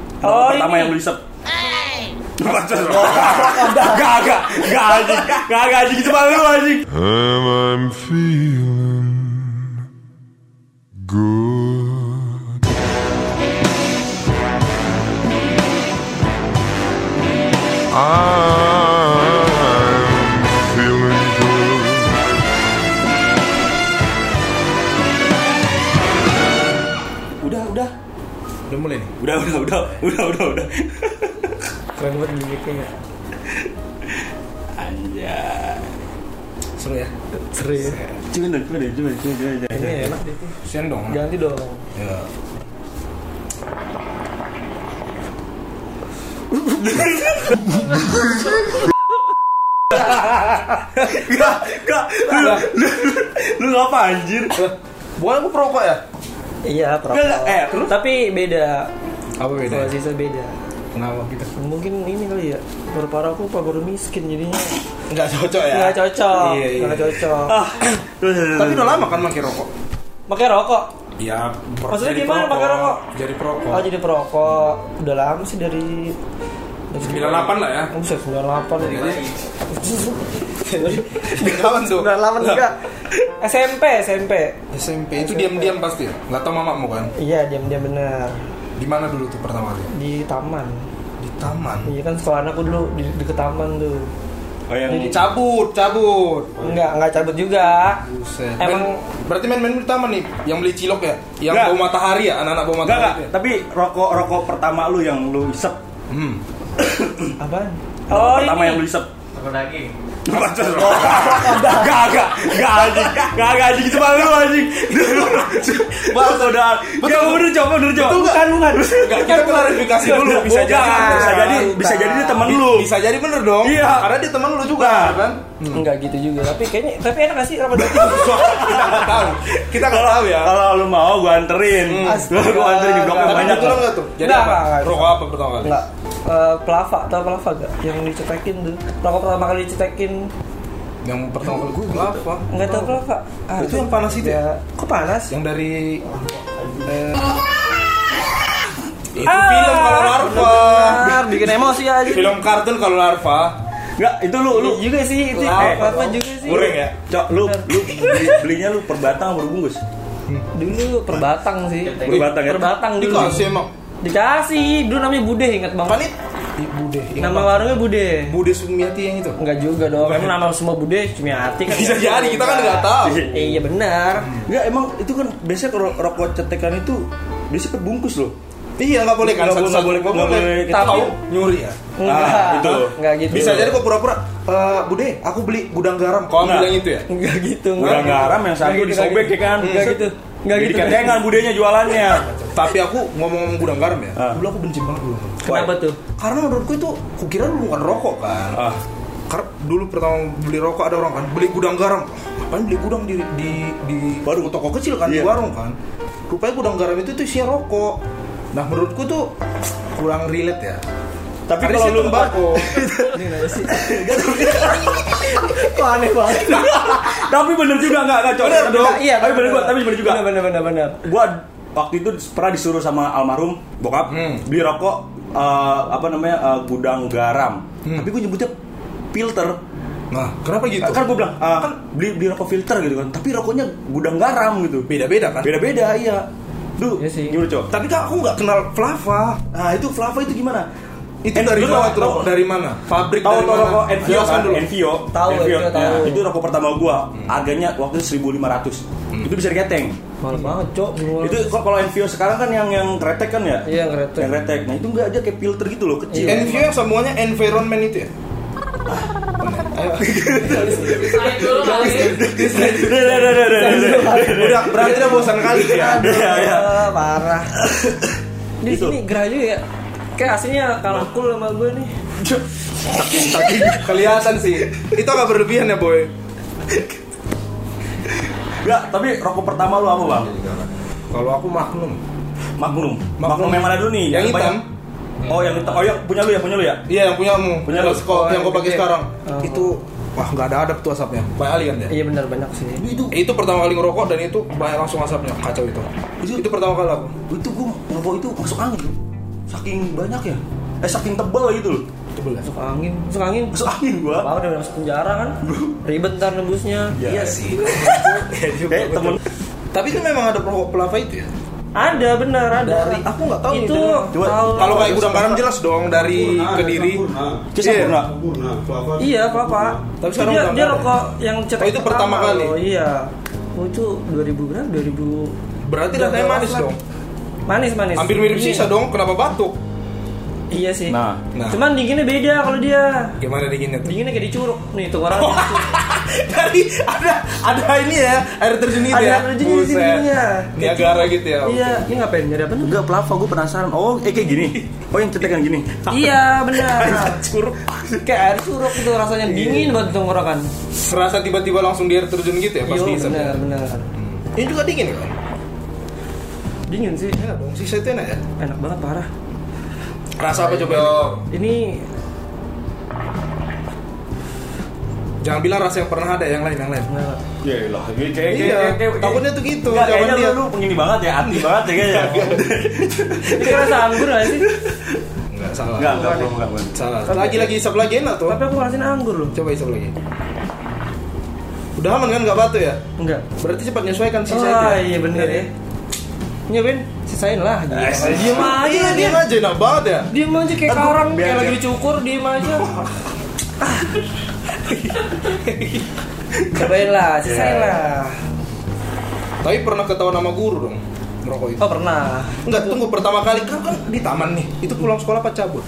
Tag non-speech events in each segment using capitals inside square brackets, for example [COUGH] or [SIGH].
Oh, Nol pertama ini. Oh, yang lu isep. Gak, gak, gak anjing, gak, gak anjing, cuma lu anjing. And I'm feeling good. I'm feeling good. Udah, udah, Udah mulai nih. udah, udah, udah, udah, udah, udah. Keren banget mimiknya ya. Anjay. Seru ya. Seru ya. Cuma deh, cuma deh, cuma deh, cuma deh, cuma deh. Ini enak deh. tuh. Sen dong. Ganti dong. [LAUGHS] Ya. Gak, gak, lu, lu, lu ngapa anjir? Bukan aku perokok ya? Iya, Gak, gak, perokok. eh, terus? Tapi beda. Apa Kalau bedanya? sisa beda. Kenapa kita? Mungkin ini kali ya. Paru aku apa baru miskin jadinya. Enggak cocok Enggak cocok. Iya, iya. Enggak cocok. Ah, terus, terus, Tapi terus. udah lama kan pakai rokok? Pakai rokok. Ya, per- Maksudnya jadi gimana pakai rokok? Jadi Oh, perokok. jadi perokok. Udah lama sih dari 98 lah ya. Buset, 98 [LAUGHS] Jadi, nih. Kawan tuh. 98 enggak. SMP, SMP. SMP itu diam-diam pasti. ya? Nggak tau mamamu kan? Iya, diam-diam benar. Di mana dulu tuh pertama kali? Di taman. Di taman. Iya kan sekolah anakku dulu di deket taman tuh. Oh, yang Cabut, cabut. Enggak, enggak cabut juga. Buset. Emang- Main- berarti main-main di taman nih, yang beli cilok ya, yang Nggak. bau matahari ya, anak-anak bau Enggak, matahari. enggak, itu ya? tapi rokok rokok pertama lu yang lu isep. Hmm. Apaan? Oh, Rokok pertama yang lu isep. Rokok daging. Gak, gak, gak, gak anjing, gak, gak anjing, cuma lu anjing Bang, saudara, ya udah coba, udah coba Bukan, bukan. Nggak, kita klarifikasi dulu Bisa jadi, bisa jadi, bisa jadi dia temen lu Bisa jadi bener dong. Iya. Karena dia teman lu juga, Nah. kan? Enggak gitu juga, tapi kayaknya tapi enak gak sih gitu? rapat daging? kita nggak tahu. Kita nggak tahu ya. Kalau lu mau, gua anterin Astaga. Gua anterin di bloknya Tapi banyak Bener lah nggak tuh? Jadi Nggak, apa? nggak, nggak. Rokok apa pertama kali? Enggak. Eh, pelava, tau pelava gak? Yang dicetekin tuh Rokok pertama kali dicetekin Yang pertama kali gue apa? Enggak tau pelava ah, Itu yang panas itu ya? Kok panas? Yang dari eh, itu Ah, film kalau larva. Benar, bikin emosi aja Film kartun kalau larva. Enggak, itu lu, lu Iya juga sih, itu Pelava. apa juga sih Goreng ya? Cok, lu, lu beli, belinya lu per batang apa berbungkus? Dulu perbatang sih Cetekin. Perbatang ya? Perbatang dulu Dikasih emang. Dikasih, dulu namanya Bude ingat banget Panit. Ibu deh. Nama warungnya Bude Bude Sumiati yang itu. Enggak juga dong, emang nama semua Bude Cumiati kan [LAUGHS] Bisa jadi kita kan nggak tahu. Eh, Iya benar Enggak, emang itu kan biasanya kalau rokok cetekan itu Biasanya per bungkus loh Iya nggak boleh kan? Nggak Satu-satu boleh, nggak nggak boleh. boleh. Tapi Tahu. nyuri ya. Iya. Enggak itu. Enggak gitu Bisa jadi kok pura-pura. "Eh, Bude, aku beli gudang garam. Kau Nggak. bilang itu ya? Enggak gitu Udah garam yang satu Nggak gitu, disobek ya nggak kan Enggak gitu Enggak Jadi gitu ketengan budenya jualannya Tapi aku ngomong-ngomong gudang garam ya. Ah. Dulu aku benci banget gudang garam. Kenapa tuh? Karena menurutku itu kukira dulu bukan rokok kan. Ah. Karena dulu pertama beli rokok ada orang kan beli gudang garam. Kan beli gudang di di di Warung. toko kecil kan di Iya. warung kan. Rupanya gudang garam itu tuh isinya rokok. Nah menurutku tuh kurang relate ya. Tapi Karena kalau isinya lu tembakau. Ini kenapa sih? Kok aneh banget Tapi bener juga enggak enggak cocok. Bener Tapi- dong. Iya, tapi bener gua, tapi bener juga. Bener bener bener bener. Gua waktu itu pernah disuruh sama almarhum bokap Hmm. beli rokok eh, apa namanya eh, gudang garam. Hmm. Tapi gua nyebutnya filter. Nah kenapa gitu? Kan gua bilang, ah, kan beli beli rokok filter gitu kan. Tapi rokoknya gudang garam gitu. beda-beda kan. Beda-beda iya. Duh, Iya sih. gimana coba? Tapi kan aku nggak kenal Flava. Nah, itu Flava itu gimana? Itu Eh, dari lu tau- mana tuh? tau- Dari mana? Fabrik Tahu dari tahu mana? rokok Envio Jelaskan kan? dulu. Envio. Tahu, Envio, Envio, ya. tahu. Itu rokok pertama gua. Hmm. Harganya waktu itu 1500. Itu bisa diketeng. Mahal banget cok Mahal. Itu [LAUGHS] kok kalau Envio sekarang kan yang yang kretek kan ya? Iya, yang kretek. Yang kretek. Nah, itu enggak aja kayak filter gitu loh, kecil. [LAUGHS] Iya. Envio yang semuanya environment itu ya? Naik dulu kali. Udah, udah, udah, udah, udah, [LAUGHS] udah. Udah, berarti udah bosan kali ya. Iya, iya. Ah, Parah Di Gitu. sini gerah juga ya Kayak aslinya kalah cool sama gue nih Kelihatan sih. Itu agak berlebihan ya, Boy. Iya, Enggak, tapi rokok pertama lu apa, Bang? Kalau aku maklum. Magnum. Magnum. Magnum yang mana dulu nih? Yang hitam. banyak- Oh, yang hitam. Oh, ya, punya lu ya, punya lu ya. Iya, yang punyamu. Punya yang lu. kau yang kau pakai Gede. sekarang. Oh. Itu wah nggak ada adab tuh asapnya. Kayak alien ya. Iya bener banyak sih Itu itu pertama kali ngerokok dan itu banyak langsung asapnya. Kacau itu. Itu, pertama kali aku. Itu gua ngerokok itu masuk angin. saking banyak ya eh saking tebal gitu loh Coba lah. masuk angin masuk angin masuk angin gua Bang udah masuk penjara kan ribet ntar nembusnya Iya sih. eh temen Tapi itu memang ada perokok pelava itu ya. ada benar ada Dari- aku nggak tahu itu nih, Coba, tahun- Kalau kayak gudang kan? garam jelas dong dari Kediri. Itu Sampurna. Sampurna. Kelapa. Iya, Papa. Tapi sekarang dia, udah dia enggak ya? rokok yang cetek Oh, itu pertama kali? loh, iya. Oh, itu 2000 berapa? 2000 Berarti Udah rasanya lewat manis lah. dong. Manis manis. Hampir mirip Iya. sisa dong, kenapa batuk? Iya sih. Nah, nah. Cuman dinginnya beda kalau dia. Gimana dinginnya tuh? Dinginnya kayak dicuruk nih tuh orang. Oh, dicuruk. [LAUGHS] Dari ada ada ini ya, air terjun itu Ada ya. air terjunnya di Buset. sininya. Niagara gitu ya. Iya, ini ngapain? Nyari apa? enggak pelava gua penasaran oh eh kayak gini oh yang cetekan gini iya, [LAUGHS] benar. Curug. kayak air curuk itu rasanya Iya. dingin banget kan. di tenggorokan. Serasa tiba-tiba langsung di air terjun gitu ya Iya, pasti benar, benar. Ini juga dingin kan? Dingin sih. Eh, Ya dong, sisa itu enak ya. Enak banget parah. Rasa apa coba? ini? Ini Jangan bilang rasa yang pernah ada yang lain yang lain. benar. ya lah kayak kayak iya, takutnya tuh gitu. Enggak, jawaban kayaknya dia. lu, lu begini banget ya, hati banget ya [LAUGHS] kayaknya. Ini rasa anggur gak sih? Enggak salah. Enggak, enggak, belum, enggak, belum. Salah. Lagi-lagi isap lagi enak tuh. Tapi aku ngerasain anggur loh. Coba isap lagi. Udah aman kan nggak batu ya? Enggak. Berarti cepat menyesuaikan sisa itu. Ah iya bener ya. Nyobain sisain lah. gitu. Eh, sih. Diem aja, diem aja enak banget ya. Diem aja kayak Aduh, karang biar- kayak lagi biar. dicukur diem [LAUGHS] aja. Cobain lah, sisain lah. Tapi pernah ketahuan sama guru dong merokok itu. Oh pernah Enggak tunggu pertama kali kan kan di taman nih. Itu pulang sekolah apa cabut?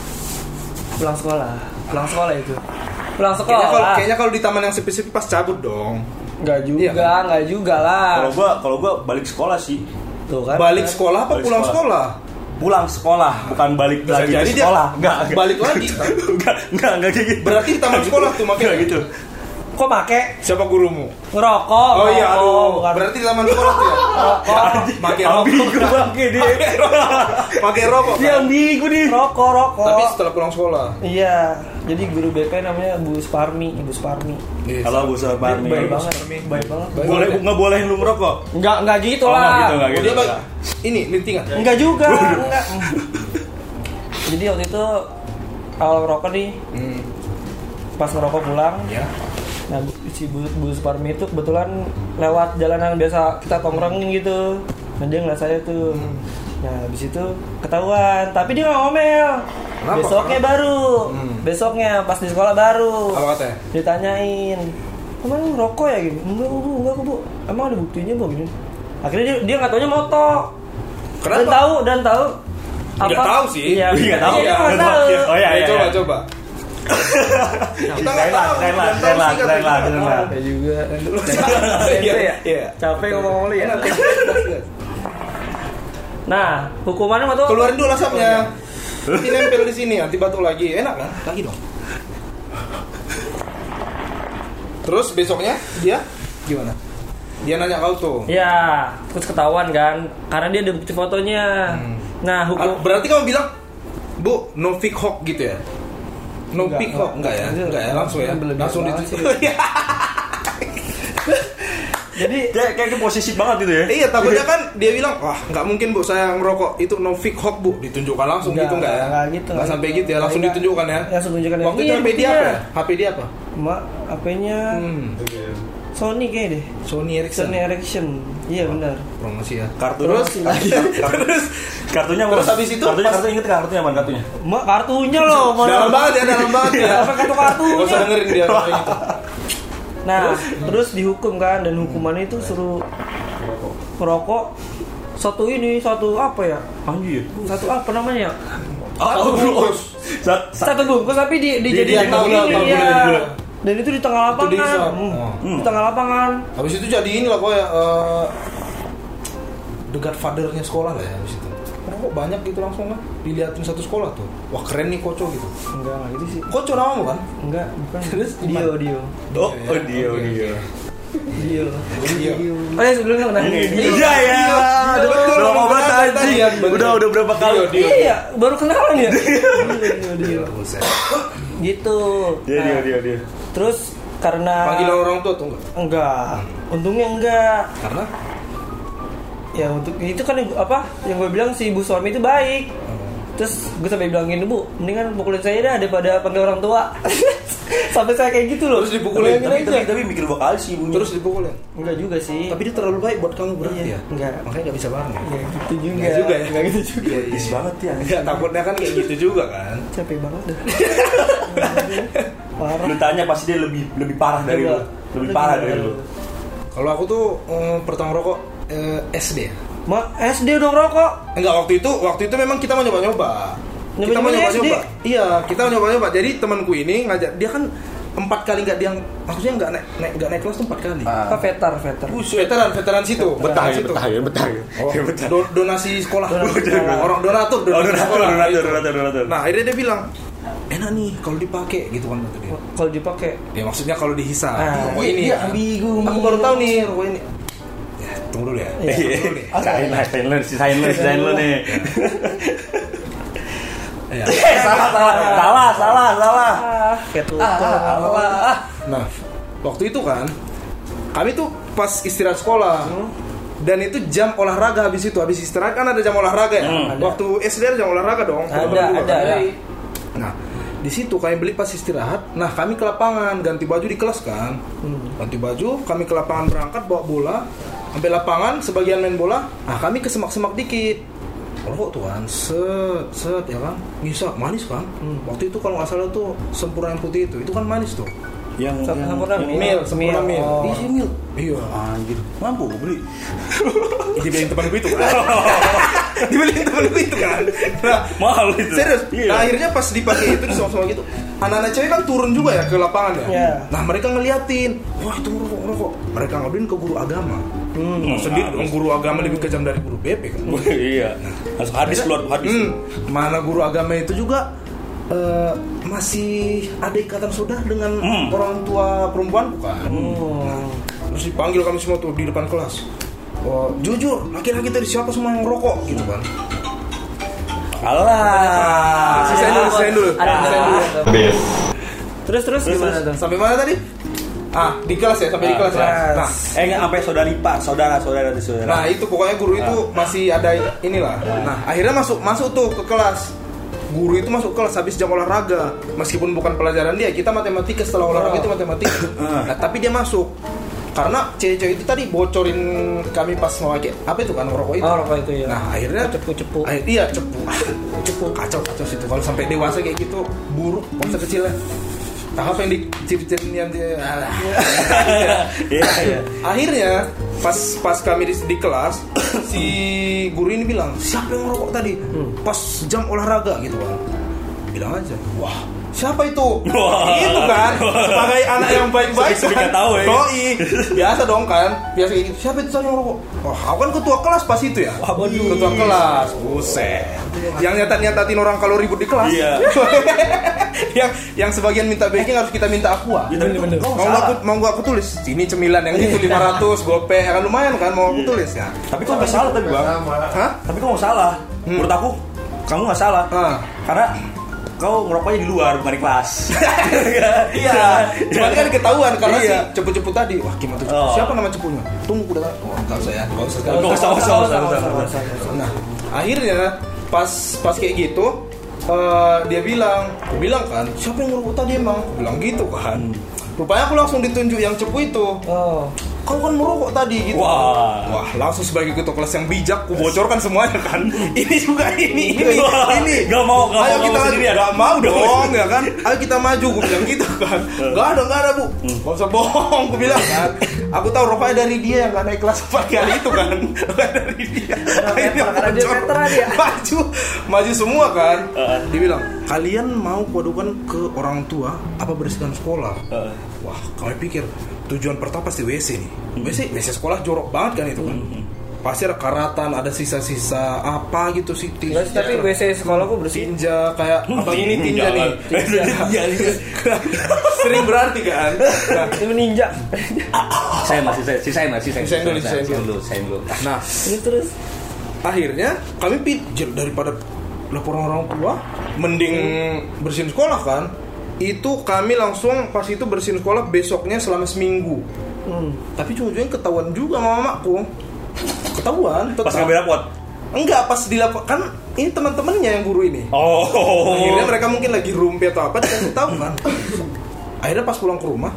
pulang sekolah, pulang sekolah itu. Pulang sekolah. Kayaknya kalau kayaknya kalau di taman yang spesifik pas cabut dong. Enggak juga, Iya kan? enggak juga lah. Kalau gua, kalau gua balik sekolah sih. Tuh kan. Balik sekolah apa Balik pulang sekolah. sekolah? Pulang sekolah, bukan balik Bisa lagi jadi ke dia sekolah. Enggak, enggak. Balik [LAUGHS] lagi. Enggak, enggak, enggak kayak gitu. Berarti di taman sekolah tuh Enggak makanya gitu. Kok make Siapa gurumu? ngerokok? Oh, iya, ngerokok, aduh. bukan- Berarti di taman sekolah [LAUGHS] tuh ya. Pakai Ambil rokok, gua pakai [LAUGHS] dia. pakai rokok. Dia kan? ambil gua nih. rokok, rokok. Tapi setelah pulang sekolah. Iya, jadi guru BP namanya Bu Sparmi, Ibu Sparmi. Iya, Kalau gua sama Parmi. Baik banget, baik banget. Boleh enggak bolehin lu ngerokok? Enggak, enggak gitu Oh, lah. enggak gitu, enggak gitu. Dia bag- ini lintingan. Iya. Enggak juga, enggak. jadi waktu itu awal ngerokok nih, Hmm. pas ngerokok pulang, Ya. nah Bu- si Bu, Bu Sparmi itu kebetulan lewat jalanan biasa kita tongkrongin gitu. Nah dia ngeliat saya tuh. Hmm. Nah habis itu ketahuan, tapi dia nggak ngomel. Kenapa? Besoknya baru, Hmm. besoknya pas di sekolah baru. Apa ya? katanya? ditanyain emang lu rokok ya gitu enggak kok bu enggak kok bu emang ada buktinya bu gini akhirnya dia dia nggak taunya motok dan Kenapa? tahu dan tahu Nggak tahu sih. iya Nggak tahu. iya, dia nggak Nggak tahu. tahu Oh, iya, Ayo, iya, coba iya. coba. Kita nggak Keren lah, tahu, keren lah, kita keren tahu lah, sih keren lah, katanya. keren lah. Capek juga Iya, Capek ya? iya. capek ngomong lu ya kan? nah hukumannya waktu Keluarin dulu Iya. asapnya. Ini nempel di sini anti batuk lagi. Enak kan? Lagi dong. Terus besoknya dia gimana? Dia nanya kau tuh. ya terus ketahuan kan karena dia ada bukti fotonya nah Ah, hukum Berarti kamu bilang, Bu, no pick hawk gitu ya? No Enggak, pick hawk enggak ya? enggak. Enggak ya, langsung ya. Belum Langsung banget di jadi Kayak kayak posisi banget gitu ya. [LAUGHS] Iya, [LAUGHS] takutnya kan dia bilang, "Wah, enggak mungkin, Bu, saya ngerokok. Itu no pick hawk, Bu." Ditunjukkan langsung Enggak, gitu enggak ya? enggak gitu, enggak sampai gitu. gitu ya, langsung Enggak. ditunjukkan ya. Langsung tunjukkan ya. Waktu itu Iya, HP dia buktinya. apa? ya? HP dia apa? mak apanya Hmm, Sony kayaknya deh Sony Ericsson. Sony Ericsson iya benar Promosi ya. Kartu Terus Terus kartunya Terus mana? habis itu kartunya pas- kartunya inget kartunya mana kartunya? Mak kartunya loh, mohon dalam maaf. banget ya, dalam banget ya. Apa kartu-kartunya? Gak usah dengerin [LAUGHS] dia kalau gitu. Nah, terus dihukum kan dan hukumannya itu suruh merokok satu ini satu apa ya? Anjir. Satu apa namanya? ya? Satu bungkus. Sat- sat- Satu bungkus tapi di dijadikan dia tahu, begini, tahu, ya. tahu, tahu. Dan itu di tengah Itu di lapangan. isap. Hmm, Oh. Di tengah lapangan. Habis itu jadi inilah kok ya eh, The Godfather-nya sekolah lah ya habis itu. Karena kok banyak gitu langsung kan diliatin satu sekolah tuh. Wah keren nih Koco gitu. Enggak, enggak gitu sih. Koco namamu kan? Enggak, bukan. Terus Dio, gimana? Dio. Oh, oh dia, oh, dia. Dio. Iya. Oh ya sebelumnya pernah. Ini Dio. dia ya. Dio, Dio, Udah mau Dio, banget Dio, anjing. Dio, Dio. Udah udah berapa kali? Dio, Dio. Iya, baru kenalan ya. Dio, Dio, Dio. Gitu. Dia dia Nah, dia dia. Terus karena Panggil orang tua tuh enggak? enggak untungnya enggak Karena Eh, ya untuk itu kan yang- apa yang gue bilang si ibu suami itu baik terus gue sampai bilangin bu mendingan pukulin saya dah daripada panggil orang tua [LAUGHS] sampai saya kayak gitu loh Terus Bayangin dipukulin. tapi, aja. tapi, tapi mikir dua kali sih ibunya terus ya? dipukulin enggak juga sih Eh, tapi dia terlalu baik buat kamu berarti Iya, ya enggak. makanya nggak bisa bareng ya? Enggak gitu juga Enggak juga ya? Enggak gitu juga Iya, Yes banget ya Enggak, takutnya kan kayak gitu juga kan capek banget [LAUGHS] dah lu nah. parah tanya pasti dia lebih lebih parah Iya. dari lu lebih parah dari lu kalau aku tuh eh, pertama rokok eh, SD ya Ma, SD udah ngerokok Enggak waktu itu, waktu itu memang kita mau nyoba-nyoba. Kita mau Nyoba-nyoba ya, nyoba-nyoba. SD? Iya, kita mau nyoba-nyoba. Jadi temanku ini ngajak dia kan empat kali nggak dia maksudnya nggak naik naik nggak naik kelas tuh empat kali. apa vetar vetar Buset, veteran veteran situ, Ah. betah ya situ. betah ya betah ya Oh, Ya, betah do- donasi sekolah. Donasi sekolah. Orang donatur, Oh, donatur, sekolah. donatur, Itu. donatur, donatur. Nah, akhirnya dia bilang, "Enak nih kalau dipakai gitu kan kata dia." kalau dipakai Ya maksudnya kalau dihisap. Ah, rokok ini. iya, ya. ambigu, Aku baru tahu nih oh rokok ini. Ya, tunggu dulu ya. Iya. Tunggu dulu ya. Sisain lah, sisain lu, sisain lu, sisain lu nih. Iya. Eh, [LAUGHS] salah, salah, salah, salah, salah. ah kayak tuh Salah. Nah, waktu itu kan kami tuh pas istirahat sekolah. Hmm. Dan itu jam olahraga habis itu, habis istirahat kan ada jam olahraga ya. Hmm, ada. waktu SD ada jam olahraga dong. Ada, Pukul dua ada, kan? ada. Nah, di situ kami beli pas istirahat. Nah, kami ke lapangan ganti baju di kelas kan. Hmm. Ganti baju, kami ke lapangan berangkat bawa bola. Sampai lapangan sebagian main bola. Nah, kami ke semak-semak dikit. Rokok tuh kan, set, set ya kan, ngisap, manis kan. Hmm. Waktu itu kalau nggak salah tuh sempurna yang putih itu, itu kan manis tuh. Yang Satu yang- sempurna, yang- Mil. Mil, sempurna Mil. mil. Oh. Iya mil. Iya. Anjir, mampu gue [LAUGHS] beli. Dibeliin temanku [LAUGHS] itu kan. [LAUGHS] Dibeliin temanku itu kan. Nah, Mahal itu. serius. Iya. Nah, akhirnya pas dipakai itu di sama gitu. Anak-anak cewek kan turun juga ya ke lapangan ya. Iya. Nah, mereka ngeliatin. Wah, itu ngerokok, ngerokok. Mereka ngaduin ke guru agama. Hmm, Sendiri habis. dong guru agama lebih kejam dari guru BP kan. Iya. Langsung habis keluar habis. Hmm, mana guru agama itu juga eh, masih ada ikatan saudara dengan Hmm. orang tua perempuan bukan? Oh. terus dipanggil kami semua tuh di depan kelas Oh, jujur laki-laki tadi siapa semua yang ngerokok gitu kan Alah. sisain dulu sisain dulu Ada, ada, Sisain dulu. ada. terus terus gimana tuh sampai mana tadi ah di kelas ya sampai di Ah, kelas ya kelas. nah Eh enggak sampai saudari Pak, saudara-saudara di saudara. nah itu pokoknya guru itu masih ada inilah nah akhirnya masuk masuk tuh ke kelas guru itu masuk kelas habis jam olahraga meskipun bukan pelajaran dia kita matematika setelah olahraga itu matematika nah, tapi dia masuk karena cewek-cewek itu tadi bocorin kami pas mau pakai apa itu kan rokok itu Oh, rokok itu, iya. nah akhirnya Cepu-cepu. Akhir- iya cepu [LAUGHS] cepu kacau kacau situ kalau sampai dewasa kayak gitu buruk masa kecilnya tahap yang diciptain yang di- [LAUGHS] [LAUGHS] Iya, iya. akhirnya pas pas kami di, di kelas [COUGHS] si guru ini bilang siapa yang ngerokok tadi Hmm. pas jam olahraga gitu kan bilang aja wah siapa itu [LAUGHS] Wah. itu kan sebagai [LAUGHS] anak yang baik-baik Sepi-sepi nggak tahu, ya. doi biasa dong kan biasa kayak gitu siapa itu tadi yang ngerokok wah aku kan ketua kelas pas itu ya Waduh. ketua kelas buset yang nyata nyatain orang kalau ribut di kelas Iya. [LAUGHS] yang yang sebagian minta backing harus kita minta aqua Gitu, bener. mau gua aku mau gua aku tulis ini cemilan yang gitu, Iya. itu 500 gope kan lumayan kan mau aku tulis ya Tapi kok nggak salah tadi, Bang? hah Tapi kok nggak salah? Hmm. Menurut aku kamu nggak salah. Ah. Karena kau ngerokoknya di luar bukan di kelas. [LAUGHS] iya cuman kan ketahuan karena Iya. si cepu-cepu tadi wah gimana tuh Oh. siapa nama cepunya tunggu udah oh, enggak usah ya enggak usah sekarang. Nggak usah, nggak usah, nggak usah, nggak usah, nggak usah. nah akhirnya pas pas kayak gitu eh, dia bilang aku bilang kan siapa yang ngerokok tadi emang Aku bilang gitu kan Hmm. rupanya aku langsung ditunjuk yang cepu itu oh kau kan merokok tadi gitu Wah. Wah, langsung sebagai ketua kelas yang bijak ku bocorkan semuanya [LAUGHS] kan ini juga ini ini Wah, ini nggak mau- nggak ayo mau- nggak kita mau sendiri ya? nggak mau Nggak mau Hmm. dong ya kan ayo kita maju gue bilang gitu kan nggak ada nggak ada bu nggak usah bohong gue bilang kan aku tahu rokoknya dari dia yang nggak naik kelas empat kali itu [LAUGHS] kan Rokoknya dari dia Akhirnya karena dia bocor. veteran ya. maju maju semua kan Hmm. dia bilang kalian mau kuadukan ke orang tua apa bersihkan sekolah Heeh. Wah, kami pikir tujuan pertama pasti WC nih. WC, WC sekolah jorok banget kan itu kan. Pasti ada karatan, ada sisa-sisa apa gitu sih. tin- Guys, tapi WC sekolah gue bersih tinja kayak abang Mm-hmm. ini tinja [LAUGHS] nih. Iya, iya. Sering berarti kan. Nah, ini meninjak Oh. Saya masih saya sisain masih saya. Sisain dulu, sisain dulu, sisain dulu. nah, terus terus akhirnya kami pikir daripada laporan orang tua, mending Hmm. bersihin sekolah kan. Itu kami langsung pas itu bersihin sekolah besoknya selama seminggu. hmm. Tapi cuma ketahuan juga sama mamaku. Ketahuan, Pas tetap. ngambil rapot. Enggak pas dilaporkan kan ini teman-temannya yang guru ini. Oh. Akhirnya mereka mungkin lagi rumpi atau apa dikasih tahu kan. Akhirnya pas pulang ke rumah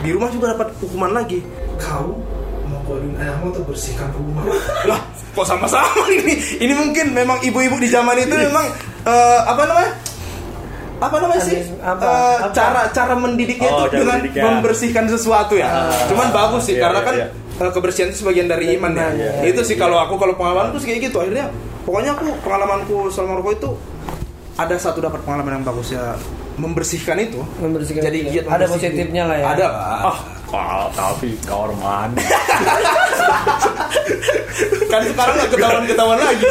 di rumah juga dapat hukuman lagi. Kau mau godin ayahmu atau bersihkan rumah? lah, kok sama-sama ini? Ini mungkin memang ibu-ibu di zaman itu Iya. memang eh, apa namanya? Apa namanya sih? Apa? Eh, Apa? cara cara mendidiknya Oh, itu cara dengan mendidiknya. membersihkan sesuatu ya. Cuman bagus sih iya, karena iya, kan iya. eh, kebersihan itu sebagian dari iman ya. Iya, itu sih kalau aku kalau pengalamanku sih kayak gitu akhirnya pokoknya aku pengalamanku selama rokok itu ada satu dapat pengalaman yang bagus ya membersihkan itu Membersihkan jadi itu. giat Ada membersihkan. positifnya lah ya. ada lah Ah, ah, tapi korban. [LAUGHS] kan sekarang nggak ketahuan ketahuan lagi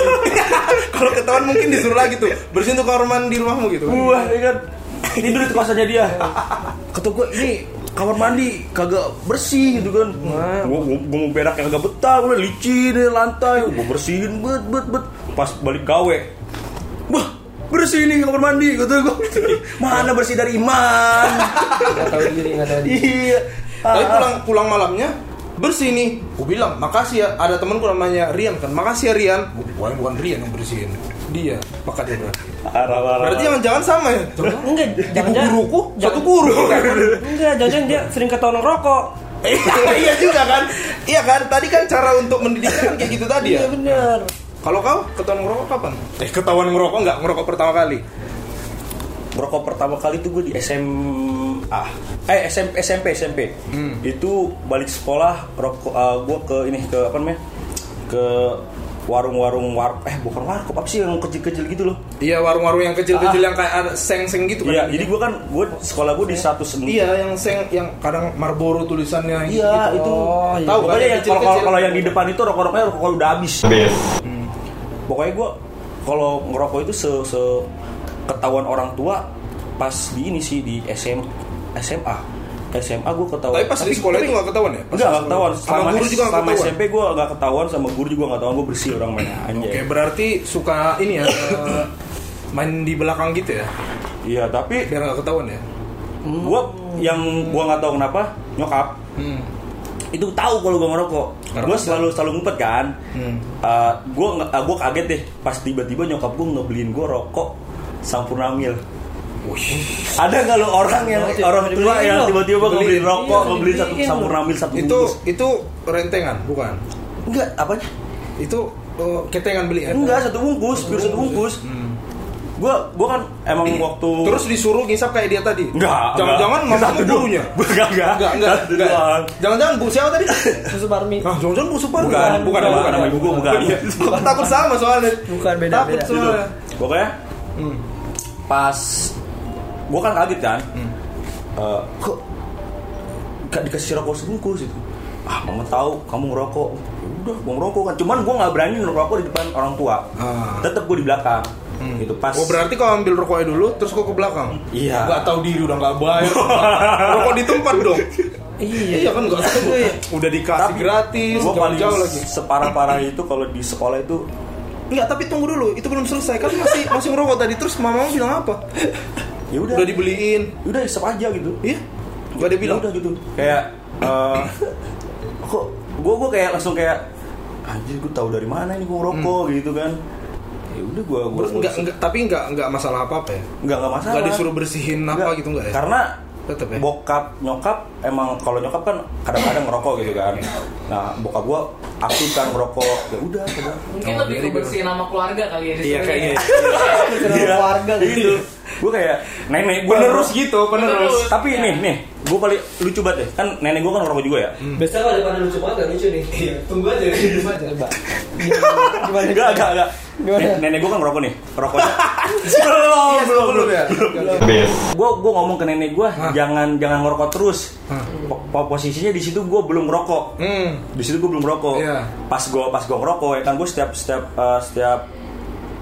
kalau ketahuan mungkin disuruh lagi tuh bersihin tuh kamar mandi rumahmu gitu Wah, ingat tidur di kosannya dia. Kata gue ini kamar mandi kagak bersih gitu kan. Gue gue mau berak yang kagak betah, gue licin ya lantai, gue bersihin bet bet bet. Pas balik gawe, wah bersih nih kamar mandi kata gue. [LAUGHS] Mana bersih dari iman? nggak tahu diri nggak tahu diri iya. tapi pulang pulang malamnya bersih nih aku bilang makasih ya ada temanku namanya Rian kan makasih ya Rian bukan bukan Rian yang bersihin dia pakai dia berarti ah, Arah, arah, berarti arah. jangan jangan sama ya enggak jangan jangan guruku satu guru enggak jangan jangan dia sering ketahuan rokok [LAUGHS] iya juga kan iya kan tadi kan cara untuk mendidiknya kan kayak gitu tadi ya iya bener kalau kau ketahuan ngerokok kapan eh ketahuan ngerokok nggak ngerokok pertama kali Merokok pertama kali tuh gue di SMA eh SMP SMP SMP itu balik sekolah rokok eh, gue ke ini ke apa namanya ke warung-warung war eh bukan warkop apa sih yang kecil-kecil gitu loh iya warung-warung yang kecil-kecil yang kayak ada seng-seng gitu kan iya jadi gue kan gue sekolah gue di satu sen iya yang seng yang kadang Marlboro tulisannya yang Iya, gitu. itu oh, iya. tahu kan pokoknya yang kalau kecil-kecil. kalau- kalau yang di depan itu rokok-rokoknya rokok udah habis Habis. pokoknya gue kalau ngerokok itu se, se- ketahuan orang tua pas di ini sih di SM, SMA SMA gue ketahuan tapi pas di sekolah itu nggak ketahuan ya Pas Enggak, gak di sekolah. ketahuan. sama Selama, guru juga nggak selama ketahuan ya? SMP gue gak ketahuan, sama guru juga gak ketahuan. Gue bersih orang main anjay. oke berarti suka ini [LAUGHS] ya eh, main di belakang gitu ya Iya, tapi biar nggak ketahuan ya gue yang gue gak tahu kenapa nyokap hmm. itu tahu kalau gue ngerokok. Karena Gue kan- selalu selalu ngumpet kan. Eh, Hmm. gue gue kaget deh pas tiba-tiba nyokap gue ngebeliin gue rokok sampurna mil. Ada nggak lo orang yang Tiba-tiba orang tua dibeliin yang loh. tiba-tiba ngebeliin rokok, Iya, ngebeliin satu dibeliin sampurna mil satu itu bungkus? itu rentengan bukan Enggak, apanya? itu eh, ketengan beli ya Enggak, satu bungkus, pure satu bungkus. Gue gue kan emang waktu terus disuruh ngisap kayak dia tadi Enggak. jangan-jangan enggak. mamamu Satu doang. gurunya Enggak, enggak. enggak enggak Satu enggak doang. jangan-jangan bu siapa tadi susu parmi ah jangan-jangan bu super Bukan, bukan, bukan, Iya. nama ibu gua bukan. Bukan, takut sama soalnya Bukan, beda, takut beda. soalnya Pokoknya Hmm. pas gua kan kaget kan. Hmm. Eh, kok gak dikasih rokok sebungkus itu? Ah, mama tahu kamu ngerokok. Ya Udah, gua ngerokok kan. Cuman gua nggak berani ngerokok di depan orang tua. Ah. Tetap gua di belakang. Itu pas. Oh berarti kau ambil rokoknya dulu terus kau ke belakang. Iya. Gak tahu diri udah gak baik. Rokok di tempat dong. iya Iya kan gak tahu. Udah dikasih Tapi gratis. Gua Jauh paling jauh lagi. separah-parah itu kalau di sekolah itu Enggak tapi tunggu dulu. Itu belum selesai kan masih masih ngerokok tadi terus mamamu bilang apa? ya udah Udah dibeliin. udah isep aja gitu. Iya. Gak ada bilang. Ya udah gitu kayak [LAUGHS] eh, kok gue gue kayak langsung kayak anjir gue tahu dari mana ini gue ngerokok gitu kan ya udah gue gue Hmm. Terus enggak, enggak- tapi enggak enggak masalah apa-apa ya. nggak nggak masalah Enggak disuruh bersihin apa Nggak. gitu enggak ya? karena Tetep ya? bokap nyokap emang kalau nyokap kan kadang-kadang ngerokok gitu kan Iya. nah bokap gue aktif kan ngerokok ya udah coba Mungkin lebih Jadi kebersihan nama keluarga kali ya di Iya sini. kayaknya. keluarga gitu gue kayak nenek gue Penerus Iya. gitu, penerus. Penerus. tapi nih nih gue paling lucu banget deh kan nenek gue kan ngerokok juga ya biasanya kalau depan lucu banget gak lucu nih tunggu aja tunggu aja coba gimana Enggak, enggak, enggak. Gimana? Iya, Nen- Nenek gue kan ngerokok nih. [LAUGHS] Rokoknya. belum, belum, belum. ya. Habis. Gue gue ngomong ke nenek gue jangan jangan ngerokok terus. Hah. Po- po- posisinya di situ gue belum ngerokok. Hmm. Di situ gue belum ngerokok. Iya. Pas gue pas gue ngerokok ya kan gue setiap setiap eh, setiap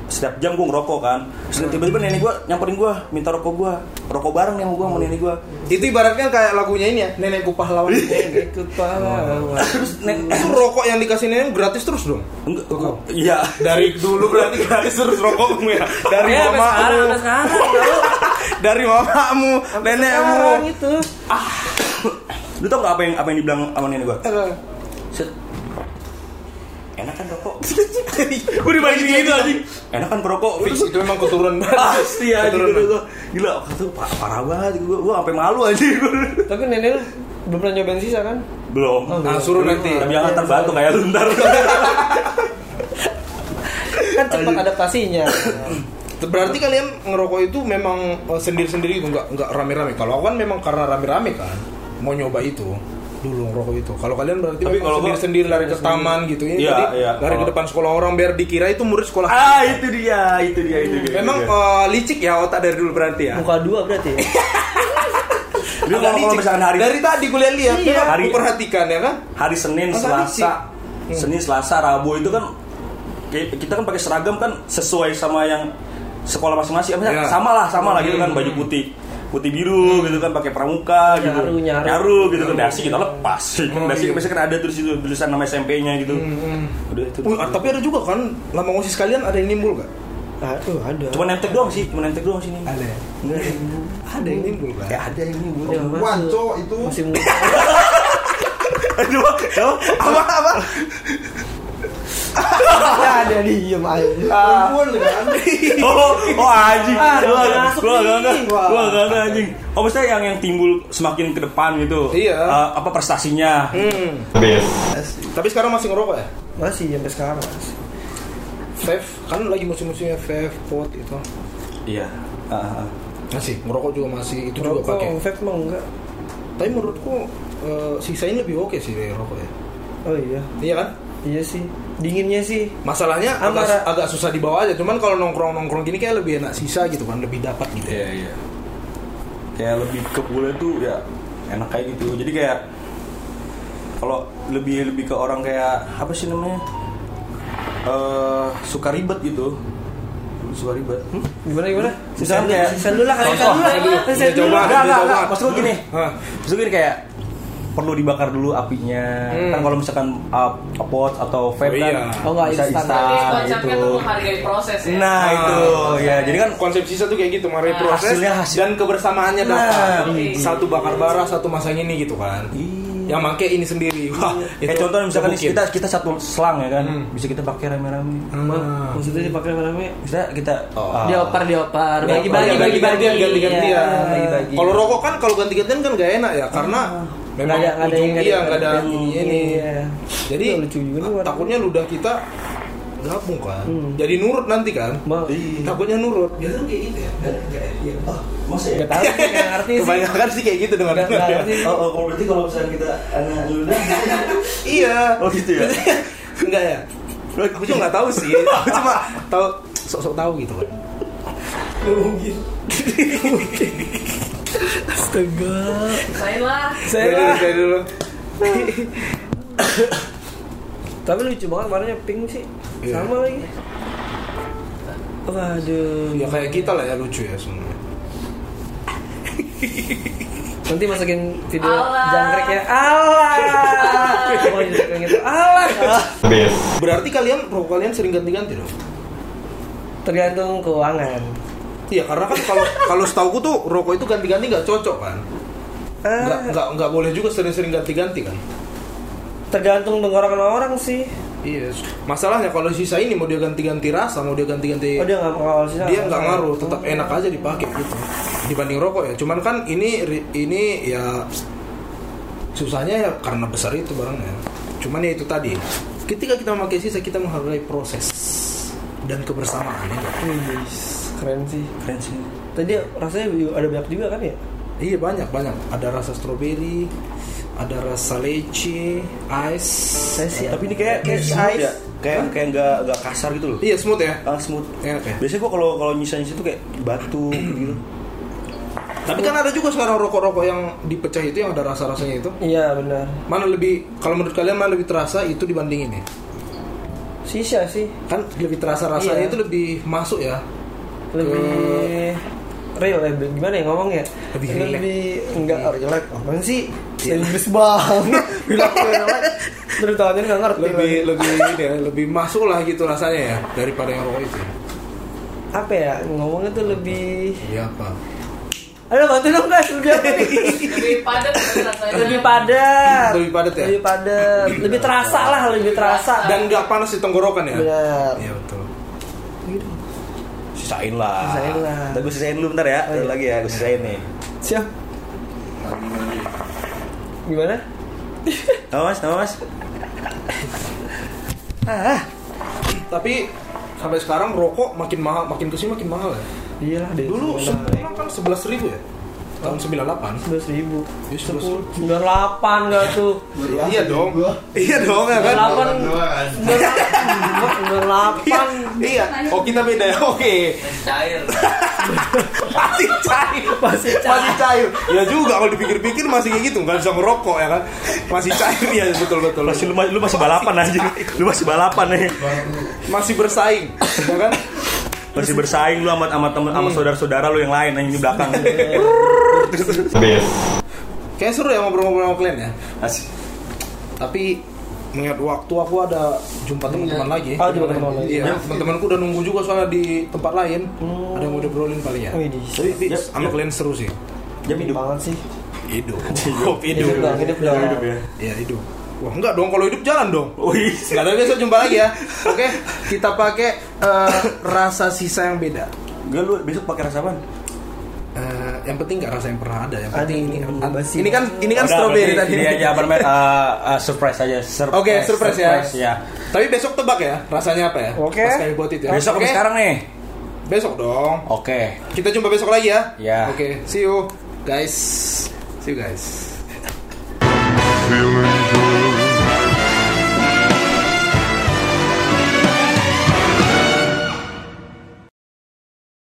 setiap jam gue ngerokok kan. Terus Iya. tiba-tiba nenek gue nyamperin gue minta rokok gue. Rokok bareng nih sama gue sama nenek gue. Itu ibaratnya kayak lagunya ini ya, nenekku pahlawan. ikut pahlawan Terus nenek Itu eh, rokok yang dikasih nenek gratis terus dong. Enggak, gua- iya. Dari dulu berarti gratis terus [LAUGHS] rokokmu ya. Dari ya sampai sekarang mamamu, sampai sekarang dari mamamu, nenekmu. sekarang gitu. itu Lu tau gak apa yang apa yang dibilang sama nenek gue? Set. Yang enak kan rokok gue dibalikin gitu anjing enak kan perokok Fix, Oh, itu memang [LAUGHS] keturunan banget pasti ya gitu Keturunan. gua. gila waktu itu pa- parah banget gue gue sampai malu anjing Tapi nenek lu belum pernah nyobain sisa kan? belum Nah, suruh nanti tapi jangan terbantu kayak lu ntar Kan cepat adaptasinya. Berarti kalian ngerokok itu memang eh, sendiri-sendiri gitu, nggak nggak rame-rame. Kalau aku kan memang karena rame-rame kan, mau nyoba itu dulu ngerokok itu. Kalau kalian berarti Tapi memang kalau gua- sendiri-sendiri lari ke taman gitu ya, Iya, jadi iya. lari ke Kalau- depan sekolah orang biar dikira itu murid sekolah. [LAUGHS] ah itu dia itu dia itu dia memang itu dia. eh, licik ya otak dari dulu berarti ya. Muka dua berarti. ya? Jadi kalau Agak kalau licik. misalkan hari dari tadi gue lihat Iya. memang Hari- aku perhatikan ya kan. Oh, hari Senin Hmm. Masa Selasa Senin Selasa Rabu itu kan ki- kita kan pakai seragam kan sesuai sama yang sekolah masing-masing Apa sih? Ya. sama lah sama lah gitu kan baju putih putih biru gitu kan pakai pramuka gitu Nyaru, nyaru. gitu kan dasi kita lepas dasi iya. biasanya kan ada tulis itu tulisan nama SMP-nya gitu udah itu Wih, ah, tapi ada juga kan lama ngosis kalian ada yang nimbul gak? Aduh, ada. cuma nemtek doang sih cuma nemtek doang sih ini Ada. Enggak, Ada yang nimbul kan? ya ada [LAUGHS] ini bu Ya, masih- Wanco itu masih muda. aduh apa apa ada diem aja. Ah. Perempuan kan. [LAUGHS] Iya. oh, oh anjing. Ah, Gua udah agak- masuk gua nih. agak agak, Wah. gua agak agak anjing. Oh, maksudnya yang yang timbul semakin ke depan gitu. Iya. Eh, apa prestasinya? Hmm. Tapi sekarang masih ngerokok ya? Masih sampai sekarang. masih. Vape kan lagi musim-musimnya vape, pot itu. Iya. Ah, ah. Masih ngerokok juga masih itu juga Rokok, pakai. vape mah enggak. Tapi menurutku eh, sisain lebih oke sih dari rokok ya. Oh iya. Iya kan? Iya sih. Dinginnya sih. Masalahnya agak, Amara. agak susah dibawa aja. Cuman kalau nongkrong-nongkrong gini kayak lebih enak sisa gitu kan, lebih dapat gitu. Iya, iya. Kayak lebih ke bule tuh ya enak kayak gitu. Jadi kayak kalau lebih lebih ke orang kayak apa sih namanya? Eh, suka ribet gitu. Suka ribet. Hmm? Gimana gimana? Misalnya Sisa- kayak- Sisa dulu lah, sisa Contoh, dulu lah. Sisa Dia dulu. coba, Enggak, dia enggak, coba. enggak. Maksud gue gini. Hah. Maksud gue gini kayak perlu dibakar dulu apinya. Hmm. Kan kalau misalkan uh, pot atau vape kan Oh, iya. Oh, enggak, bisa instan. instan Jadi konsepnya gitu. tuh menghargai proses ya. Nah, itu Ah. ya. Jadi kan konsep sisa tuh kayak gitu, Ah, mari proses hasilnya hasil- dan kebersamaannya Nah, dapat. iya. Satu bakar bara, satu masang ini gitu kan. Iya. Yang make ini sendiri. Wah, kayak itu contohnya misalkan mungkin. kita kita satu selang ya kan. Bisa kita pakai rame-rame. Hmm. Maksudnya sih pakai namanya? Bisa kita ah, Dioper, dioper. Bagi-bagi, Oh. Iya, bagi-bagi. ganti-gantian. Iya, bagi-bagi. Ah. Kalau rokok kan kalau ganti-gantian kan gak enak ya karena Nggak memang ada- nggak ada ujung yang- iya nggak nggak ada ada yang- ini ini. iya. Jadi Itu lucu juga Hmm. nih, warna. takutnya ludah kita gabung kan. Jadi nurut nanti kan. Bang, Takutnya nurut. masa ya? nggak tahu sih, nggak ngerti sih. Kebanyakan sih kayak gitu dengan Nggak- nggak ngerti [LAUGHS] sih. Oh, oh, kalau berarti kalau misalkan kita anak ludah Iya. [LAUGHS] Oh, gitu ya? Enggak ya. Aku juga nggak tahu sih. [LAUGHS] Aku cuma tahu sok-sok tahu gitu kan. Saya lah. Saya Dari- lah. dari dulu. Tapi lucu banget warnanya pink sih. Iya. Sama lagi. Waduh. Ya kayak kita lah ya lucu ya sebenarnya. Nanti masukin video Allah. jangkrik ya. Allah. Oh, jadi kayak gitu. Allah. Berarti kalian rokok kalian sering ganti-ganti dong? Tergantung keuangan. Iya karena kan kalau [LAUGHS] kalau setauku tuh rokok itu ganti-ganti nggak cocok kan? Ah, Nggak nggak nggak boleh juga sering-sering ganti-ganti kan? tergantung tenggorokan orang sih. Iya. Masalahnya kalau sisa ini mau dia ganti-ganti rasa, mau dia ganti-ganti Oh dia nggak mengawal sih. Iya. Oh. dia nggak ngaruh, tetap enak aja dipakai gitu. Dibanding rokok ya. Cuman kan ini ri- ini ya susahnya ya karena besar itu barangnya. Cuman ya itu tadi. Ketika kita memakai sisa kita menghargai proses dan kebersamaan ya. nggak? Wih, keren sih. Keren sih. Tadi rasanya ada banyak juga kan ya? Iya banyak banyak. Ada rasa stroberi, ada rasa leci, ice. Saya sih. Tapi ini kayak kayak Ice. smooth ya. Kayak kayak enggak enggak kasar gitu loh. Iya smooth ya. Ah, smooth. Enak ya. Biasanya gua kalau kalau nyisa nyisa tuh kayak batu gitu. Tapi kan ada juga sekarang rokok-rokok yang dipecah itu yang ada rasa-rasanya itu. Iya benar. Mana lebih kalau menurut kalian mana lebih terasa itu dibanding ini? Sisa sih Kan lebih terasa rasanya Iya. itu lebih masuk ya. lebih real ya gimana ya ngomong ya Lebih Iya. lebih enggak relax apaan sih Serius bang. [LAUGHS] bilang relax terus tangannya nggak ngerti lagi. Lebih lebih ini ya, lebih masuk lah gitu rasanya ya daripada yang rokok itu. apa ya ngomongnya tuh lebih Iya apa? Ayo bantu dong guys, lebih apa nih? [LAUGHS] Lebih padat kan rasanya. Lebih padat. Lebih padat ya? Lebih padat. Lebih terasa lah, lebih terasa. Dan nggak panas di tenggorokan ya? benar. Iya betul. Sisain lah. Sisain lah. Ntar gue sisain dulu bentar ya. Oh, iya. Bentar lagi ya, gue sisain nih. Siap. Gimana? Nama mas, nama mas. Tapi sampai sekarang rokok makin mahal, makin kesini makin mahal ya. Iyalah Iya deh. Dulu sebelumnya kan 11.000 ya? Tahun 98. sebelas ribu. Ya, 11.000. Sembilan delapan gak tuh? Iya dong. Iya dong ya kan? Sembilan delapan. Sembilan delapan. Iya. Oh kita beda [LAUGHS] ya. Oke. Cair. Masih cair. Masih cair. Masih cair. Ya juga kalau dipikir-pikir masih kayak gitu nggak bisa ngerokok ya kan. Masih cair ya betul betul. Masih lu, lu masih balapan anjing. Lu masih balapan nih. Masih bersaing ya kan? Masih bersaing lu sama sama temen Iya. sama saudara-saudara lu yang lain anjing di [LAUGHS] belakang. Kayak seru ya ngobrol-ngobrol sama kalian ya. Asik. Tapi mengingat waktu aku ada jumpa teman-teman lagi. Ah, jumpa teman-teman lagi. Iya, teman-temanku udah nunggu juga soalnya di tempat lain. Hmm. Ada yang mau diobrolin kali ya. Wih, di- Tapi Bi, sama kalian seru sih. Jam hidup. Banget sih. Hidup. Hidup, hidup. [LAUGHS] Hidup dong, hidup dong. Hidup ya. Ya hidup. Wah enggak dong kalau hidup jalan dong. Wih. Nggak ada besok jumpa lagi ya. Oke, kita pakai eh, rasa sisa yang beda. Gue lu besok pakai rasa apaan? Eh, yang penting nggak rasa yang pernah ada. Yang penting ini. Aduh, an- basi. Ini kan ini kan Udah, strawberry berarti tadi. Ini aja apa namanya? eh, eh, surprise aja. Surprise, Oke, surprise, ya. ya. Tapi besok tebak ya, rasanya apa ya? Oke. Pas kami buat itu. ya. Besok apa Oke, sekarang nih. Besok dong. Oke. Kita jumpa besok lagi ya. Ya. Oke, see you guys. See you guys. feeling